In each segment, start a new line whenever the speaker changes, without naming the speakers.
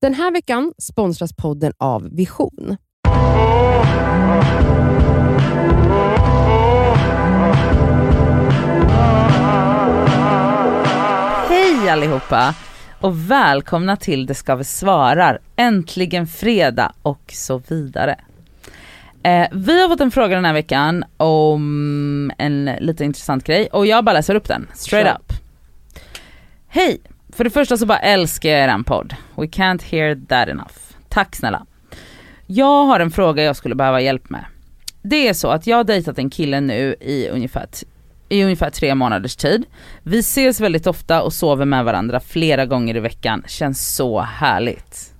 Den här veckan sponsras podden av Vision.
Hej allihopa och välkomna till Det ska vi svarar. Äntligen fredag och så vidare. Eh, vi har fått en fråga den här veckan om en lite intressant grej och jag bara läser upp den straight
Kör.
up. Hej! För det första så bara älskar jag eran podd. We can't hear that enough. Tack snälla. Jag har en fråga jag skulle behöva hjälp med. Det är så att jag har dejtat en kille nu i ungefär, t- i ungefär tre månaders tid. Vi ses väldigt ofta och sover med varandra flera gånger i veckan. Känns så härligt.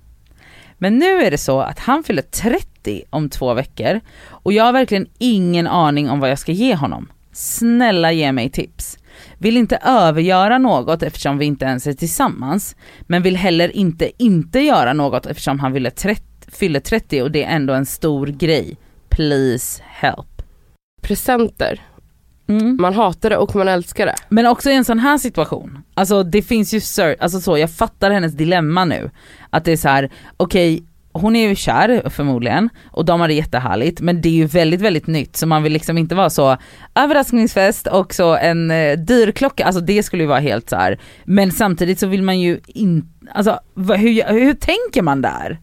Men nu är det så att han fyller 30 om två veckor och jag har verkligen ingen aning om vad jag ska ge honom. Snälla ge mig tips. Vill inte övergöra något eftersom vi inte ens är tillsammans, men vill heller inte inte göra något eftersom han fyller 30, fyller 30 och det är ändå en stor grej. Please help.
Presenter.
Mm.
Man hatar det och man älskar det.
Men också i en sån här situation, alltså det finns ju, cer- alltså så jag fattar hennes dilemma nu. Att det är så här: okej hon är ju kär förmodligen och de har det jättehärligt men det är ju väldigt väldigt nytt så man vill liksom inte vara så överraskningsfest och så en eh, dyr klocka, alltså det skulle ju vara helt så här. Men samtidigt så vill man ju inte, alltså vad- hur, hur tänker man där?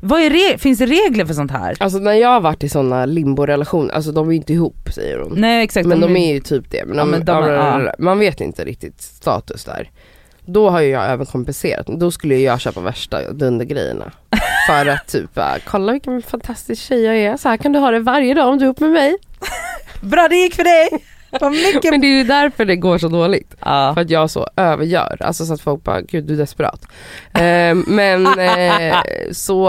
Vad är re- finns det regler för sånt här?
Alltså när jag har varit i sådana limborelationer, alltså de är ju inte ihop säger hon.
Nej exakt, Mm.
men de är ju typ det. Men,
Ja,
de,
men de är-
blablabla. Man vet inte riktigt status där. Då har ju jag överkompenserat. Då skulle ju jag köpa värsta dundergrejerna. För att typ, äh, kolla vilken fantastisk tjej jag är. Så här kan du ha det varje dag om du är ihop med mig.
Bra det gick för dig! Vad mycket...
Men det är ju därför det går så dåligt.
Ja.
För att jag så övergör. Alltså så att folk bara, gud du är desperat. Eh, men eh, så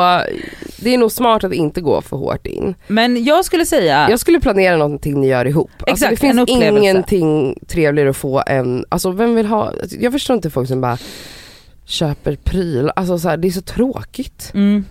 det är nog smart att inte gå för hårt in.
Men jag skulle säga,
Jag skulle planera någonting ni gör ihop. alltså, det
Exakt,
finns
en upplevelse.
ingenting trevligare att få än, alltså vem vill ha, alltså, jag förstår inte folk som bara köper prylar, alltså så här, det är så tråkigt.
Mm.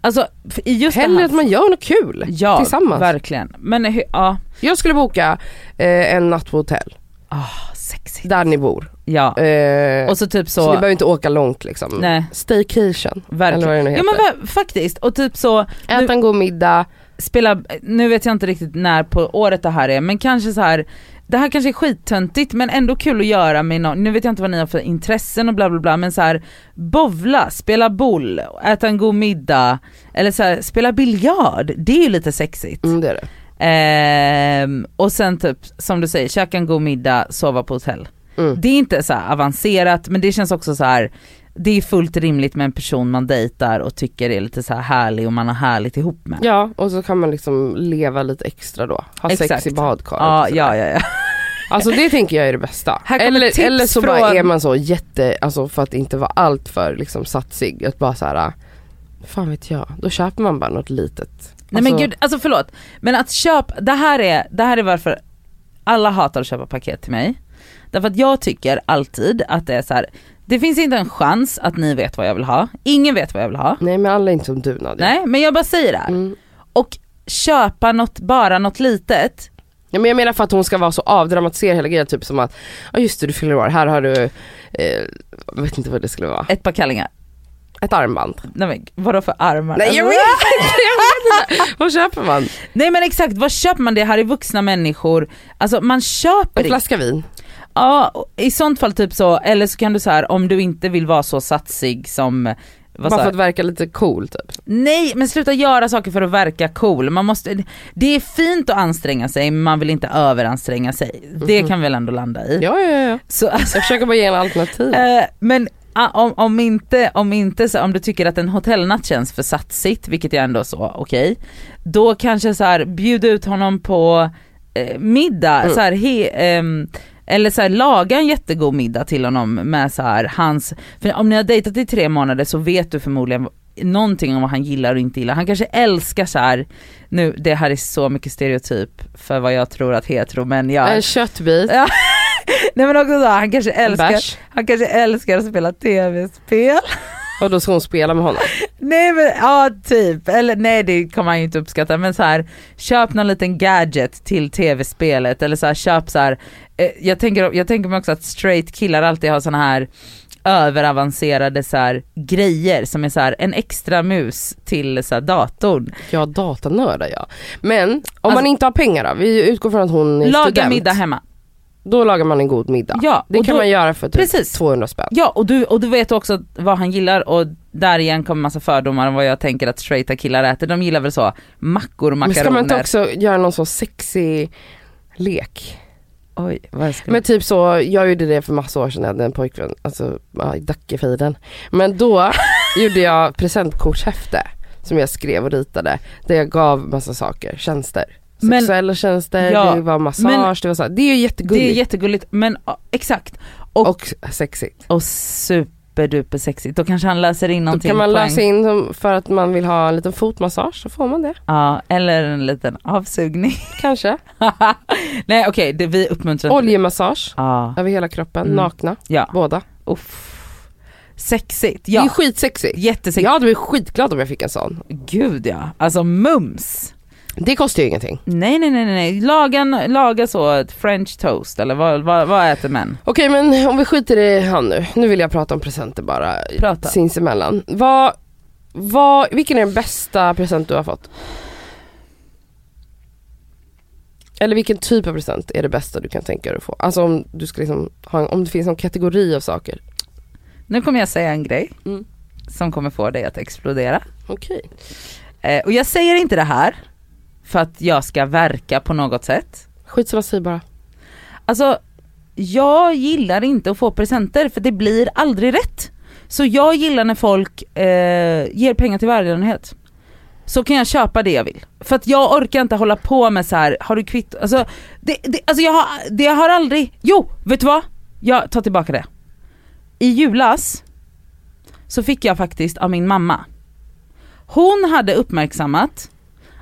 Alltså f- i just det
Hellre
här.
att man gör något kul.
ja,
tillsammans.
verkligen. Men hur, ja,
Jag skulle boka eh, en natt på hotell,
ah, sexigt.
där ni bor.
Ja.
Eh,
Och så typ
så,
så,
ni behöver inte åka långt liksom.
nej
Staycation, eller
verkligen.
vad det nu
Ja
heter.
men va- faktiskt, och typ så,
Äta en god middag,
spela, nu vet jag inte riktigt när på året det här är men kanske så här det här kanske är skittöntigt men ändå kul att göra med någon, nu vet jag inte vad ni har för intressen och bla bla bla men så här bovla, spela boll, äta en god middag eller så här, spela biljard, det är ju lite sexigt.
mm, det är det.
Ehm, och sen typ som du säger, käka en god middag, sova på hotell.
Mm.
Det är inte så här avancerat men det känns också så här. det är fullt rimligt med en person man dejtar och tycker är lite så här härlig och man har härligt ihop med.
Ja och så kan man liksom leva lite extra då, ha
Exakt.
sex i badkaret. liksom.
Ja,
och
ja,
sådär.
ja, ja.
Alltså det tänker jag är det bästa.
Här kommer tips
Eller, eller så bara
från-
är man så jätte, alltså för att inte vara allt för liksom satsig, att bara såhär, fan vet jag, då köper man bara något litet.
Nej men gud, alltså förlåt. Men att köpa, det här är, det här är varför alla hatar att köpa paket till mig. Därför att jag tycker alltid att det är så här. det finns inte en chans att ni vet vad jag vill ha. Ingen vet vad jag vill ha.
Nej men alla är inte som du Nadia.
Nej men jag bara säger det här.
Mm.
och köpa något, bara något litet.
Ja, men jag menar för att hon ska vara så avdramatiserad hela grejen, typ som att, ja just det du fyller år, här har du, eh, jag vet inte vad det skulle vara,
Ett par kallingar.
ett armband.
Nej men vadå för armar? Alltså,
Nej jag vet inte, jag vet inte. Vad köper man?
Nej men exakt, vad köper man det? Här är vuxna människor. Alltså man köper
En
inte.
flaska vin.
Ja och i sånt fall typ så, eller så kan du så här om du inte vill vara så satsig som vad sa
Bara för
jag?
att verka lite cool typ.
Nej men sluta göra saker för att verka cool. Man måste, det är fint att anstränga sig men man vill inte överanstränga sig. Det kan vi väl ändå landa i.
Mhm. Ja ja ja,
Så, alltså,
jag försöker bara ge en alternativ.
Eh, men ah, om, om inte, om inte så, om du tycker att en hotellnatt känns för satsigt, vilket jag ändå så, okej. då kanske så här bjud ut honom på eh, middag,
Mm.
så här, he, ehm, eller så här, laga en jättegod middag till honom med så här hans, för om ni har dejtat i tre månader så vet du förmodligen någonting om vad han gillar och inte gillar. Han kanske älskar så här nu det här är så mycket stereotyp för vad jag tror att heteromän gör.
En köttbit,
Nej men också så här, han kanske
en
älskar
bärs.
han kanske älskar att spela tv-spel.
Och då ska hon spela med honom.
Nej men ja typ, eller nej det kommer han ju inte uppskatta men så här köp någon liten gadget till tv-spelet eller så här köp så här eh, jag tänker, jag tänker mig också att straight killar alltid har såna här överavancerade så här, grejer som är så här, en extra mus till så här, datorn.
Ja datanördar ja. Men om man
Alltså-
inte har pengar då? Vi utgår från att hon är
Laga
student.
middag hemma.
Då lagar man en god middag.
Ja,
det
och
kan
då-
man göra för typ
Precis.
200 spänn.
Ja och du, och du vet också vad han gillar och där igen kommer massa fördomar om vad jag tänker att straighta killar äter. De gillar väl så mackor och
Men
makaroner.
ska man inte också göra någon sån sexig lek?
Oj, vad jag
Men typ så, jag gjorde det för massa år sedan, jag hade en pojkvän, alltså ja, i Dackefejden. Men då gjorde jag presentkortshäfte som jag skrev och ritade. Där jag gav massa saker, tjänster.
Men-
Sexuella tjänster,
Ja,
det var massage,
men-
det var så. här- Det är ju
det är
jättegulligt
jättegulligt men ja, exakt.
och sexigt.
Och superduper sexigt. Då kanske han läser in
Då
någonting
kan man
på en-
lösa in dem för att man vill ha en liten fotmassage, så får man det.
Ja, eller en liten avsugning.
Kanske.
Nej okej, det vi uppmuntrar inte det.
Oljemassage
Ja,
över hela kroppen,
Mm.
nakna,
ja.
båda.
Uff. Sexigt,
Det är
ja.
ju skitsexigt.
Jättesexigt.
Jag hade blivit skitglad om jag fick en sån.
Gud ja, alltså mums.
Det kostar ju ingenting.
Nej nej nej nej, nej. laga, en- laga så ett french toast eller vad, vad, vad äter män?
Okej men om vi skiter i han nu. Nu vill jag prata om presenter bara
Prata.
sinsemellan. Vad, vad, vilken är den bästa present du har fått? Eller vilken typ av present är det bästa du kan tänka dig att få? Alltså om du ska liksom ha, en- om det finns någon kategori av saker.
Nu kommer jag säga en grej
Mm.
som kommer få dig att explodera.
Okej.
Eh, och jag säger inte det här för att jag ska verka på något sätt.
Skitsamma, säg bara.
Alltså jag gillar inte att få presenter för det blir aldrig rätt. Så jag gillar när folk eh, ger pengar till välgörenhet. Så kan jag köpa det jag vill. För att jag orkar inte hålla på med så här. har du kvitt? Alltså, det, det, alltså jag, har, det jag har aldrig, jo vet du vad? Jag tar tillbaka det. I julas så fick jag faktiskt av min mamma. Hon hade uppmärksammat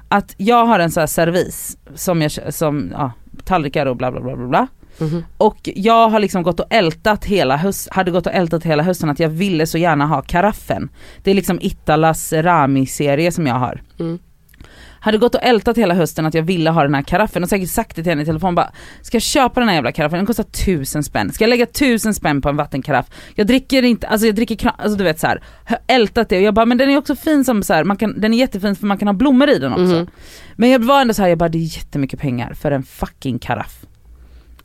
att jag har en sån här servis som jag, kö- som, ja, tallrikar och bla bla bla bla bla.
Mhm.
Och jag har liksom gått och ältat hela hösten, hade gått och ältat hela hösten att jag ville så gärna ha karaffen. Det är liksom Ittalas Rami-serie som jag har.
Mm.
Hade gått och ältat hela hösten att jag ville ha den här karaffen och säkert sagt det till henne i telefon bara Ska jag köpa den här jävla karaffen? Den kostar tusen spänn. Ska jag lägga tusen spänn på en vattenkaraff? Jag dricker inte, alltså jag dricker kra- alltså du vet så här. Har ältat det och jag bara men den är också fin som så här, man kan, den är jättefin för man kan ha blommor i den också.
Mhm.
Men jag var ändå så här, jag bara det är jättemycket pengar för en fucking karaff.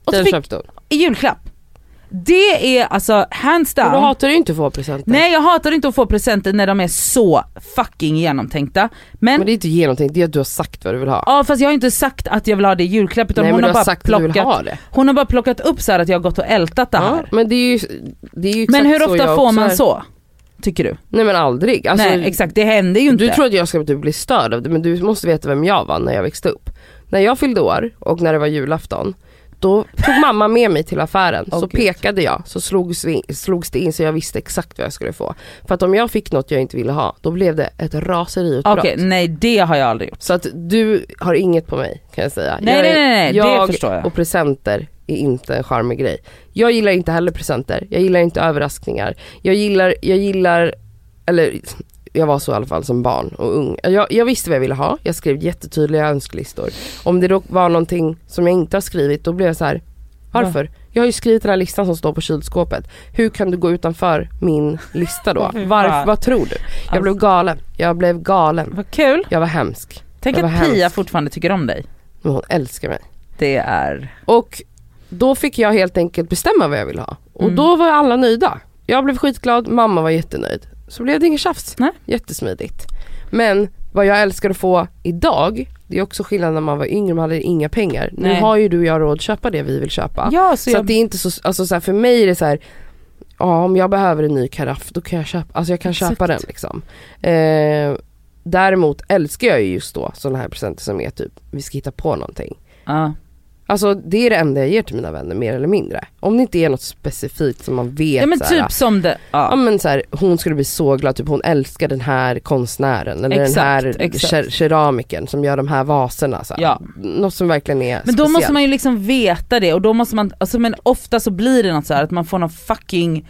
Och så
Den
fick
köpte hon.
i julklapp. Det är alltså hands
Men
down.
Då hatar du ju inte att få presenter.
Nej jag hatar inte att få presenter när de är så fucking genomtänkta. Men,
Men det är inte genomtänkt, det är att du har sagt vad du vill ha.
ja fast jag har inte sagt att jag vill ha det i julklapp utan
Nej men
hon
du
har,
har
bara
sagt att du vill
plockat,
ha det.
hon har bara plockat upp så här att jag har gått och ältat det
Ja,
här.
men det är ju, det är ju exakt
men hur
så
ofta
jag
får
också
man
är.
så? Tycker du?
Nej men aldrig. Alltså,
Nej exakt det händer ju inte.
Du tror att jag ska typ bli störd av det men du måste veta vem jag var när jag växte upp. När jag fyllde år och när det var julafton, då tog mamma med mig till affären,
Åh,
så
Gud.
pekade jag, så slogs, vi, slogs det in så jag visste exakt vad jag skulle få. För att om jag fick något jag inte ville ha, då blev det ett raseriutbrott.
Okej nej det har jag aldrig gjort.
Så att du har inget på mig kan jag säga.
Nej
jag
nej
är-
nej, nej
jag
det förstår jag.
och presenter är inte en charmig grej. Jag gillar inte heller presenter, jag gillar inte överraskningar. Jag gillar, jag gillar, eller jag var så i alla fall som barn och ung. Jag, jag visste vad jag ville ha, jag skrev jättetydliga önskelistor. Om det då var någonting som jag inte har skrivit, då blev jag så här. varför? Jag har ju skrivit den här listan som står på kylskåpet. Hur kan du gå utanför min lista då?
Fy fan.
Varför, vad tror du? Jag blev galen, jag blev galen.
Alltså, Vad kul.
Jag var hemsk.
Tänk
Det var
att Pia
hemskt.
fortfarande tycker om dig.
Men hon älskar mig.
Det är,
Och då fick jag helt enkelt bestämma vad jag ville ha. Och
Mm.
då var alla nöjda. Jag blev skitglad, mamma var jättenöjd. Så blev det inget tjafs.
Nej.
Jättesmidigt. Men vad jag älskar att få idag, det är också skillnad när man var yngre, man hade inga pengar.
Nej.
Nu har ju du och jag råd att köpa det vi vill köpa.
ja så,
så
jag,
att det är inte så, alltså så här, för mig är det så här, ja om jag behöver en ny karaff då kan jag köpa, alltså jag kan köpa
Exakt.
den liksom. Eh, däremot älskar jag ju just då sådana här presenter som är typ, vi ska hitta på någonting.
ja.
Alltså det är det enda jag ger till mina vänner mer eller mindre. Om det inte är något specifikt som man vet
ja men
såhär,
typ som det,
Ja
ja.
men så här, hon skulle bli så glad, typ hon älskar den här konstnären eller den
Exakt,
här
exakt.
ker- keramiken som gör de här vaserna. Så här.
Ja.
Något som verkligen är
Men då
speciellt.
måste man ju liksom veta det och då måste man, alltså men ofta så blir det något så här att man får någon fucking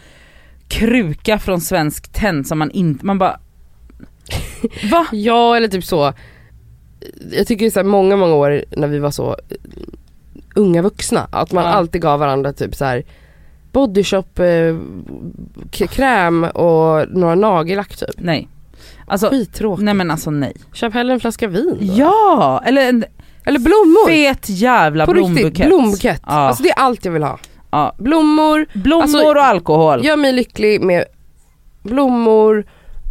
kruka från Svensk Tenn som man inte, man bara Va?
Ja eller typ så, jag tycker så här, många många år när vi var så eh, unga vuxna, att man
Ja.
alltid gav varandra typ så här bodyshop eh, k- kräm och några nagellack typ.
Nej. Alltså,
Skittråkigt.
nej men alltså nej.
Köp hellre en flaska vin då.
Ja! Eller en
Eller blommor.
fet jävla
På
blombukett.
riktigt, blombukett.
Ja.
Alltså det är allt jag vill ha.
Ja.
Blommor,
Blommor
Alltså-
och alkohol.
gör mig lycklig med blommor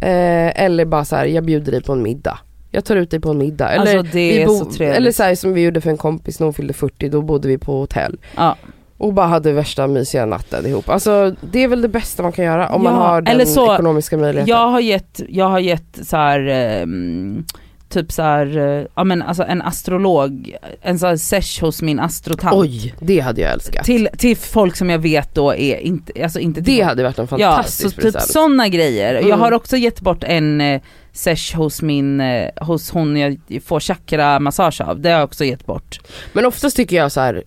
eh, eller bara så här, jag bjuder dig på en middag. Jag tar ut dig på en middag. Eller,
alltså det
vi
är
bo-
så trevligt.
eller så här som vi gjorde för en kompis när hon fyllde 40, då bodde vi på hotell.
Ja.
Och bara hade värsta mysiga natten ihop. Alltså det är väl det bästa man kan göra om
Ja,
man har den
eller så-
ekonomiska möjligheten.
Jag har gett, jag har gett så här, ehm, typ så här, eh, ja men alltså en astrolog, en så här sesh hos min astrotant.
Oj, det hade jag älskat.
Till, till folk som jag vet då är inte, alltså inte till
Det hade varit en
Ja,
fantastisk
så typ
present.
sådana grejer.
Mm.
Jag har också gett bort en eh, sesh hos min, eh, hos hon jag får chakra-massage av. Det har jag också gett bort.
Men oftast tycker jag så här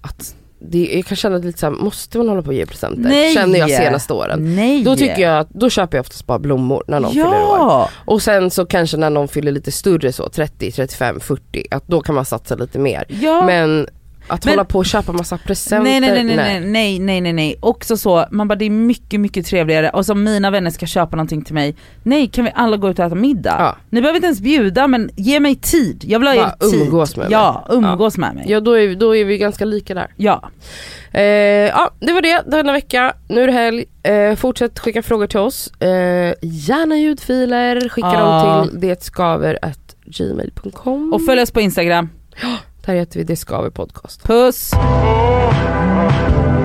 att det, jag kan känna lite så här, måste man hålla på och ge presenter?
Nej.
Känner jag senaste åren.
Nej!
Då tycker jag, att- då köper jag oftast bara blommor när någon fyller år.
Ja!
Och sen så kanske när någon fyller lite större så, 30, 35, 40, att då kan man satsa lite mer.
ja.
Men att
Men-
hålla på och köpa massa presenter,
nej, nej, nej, nej, nej, nej, nej, nej, nej. Också så, man bara det är mycket, mycket trevligare. Och som mina vänner ska köpa någonting till mig. Nej, kan vi alla gå ut och äta middag?
Ja.
Ni behöver inte ens bjuda men ge mig tid. Jag vill ha
Bara
er tid.
umgås med
Ja, umgås med mig.
Ja då är, vi- då är vi ganska lika där.
Ja.
Eh, ja det var det denna vecka, nu är det helg. Eh, fortsätt skicka frågor till oss. Eh, gärna ljudfiler, skicka
Ja.
dem till detskaver.gmail.com.
Och följ oss på Instagram.
Där heter vi Det Skaver Podcast.
Puss!
oh,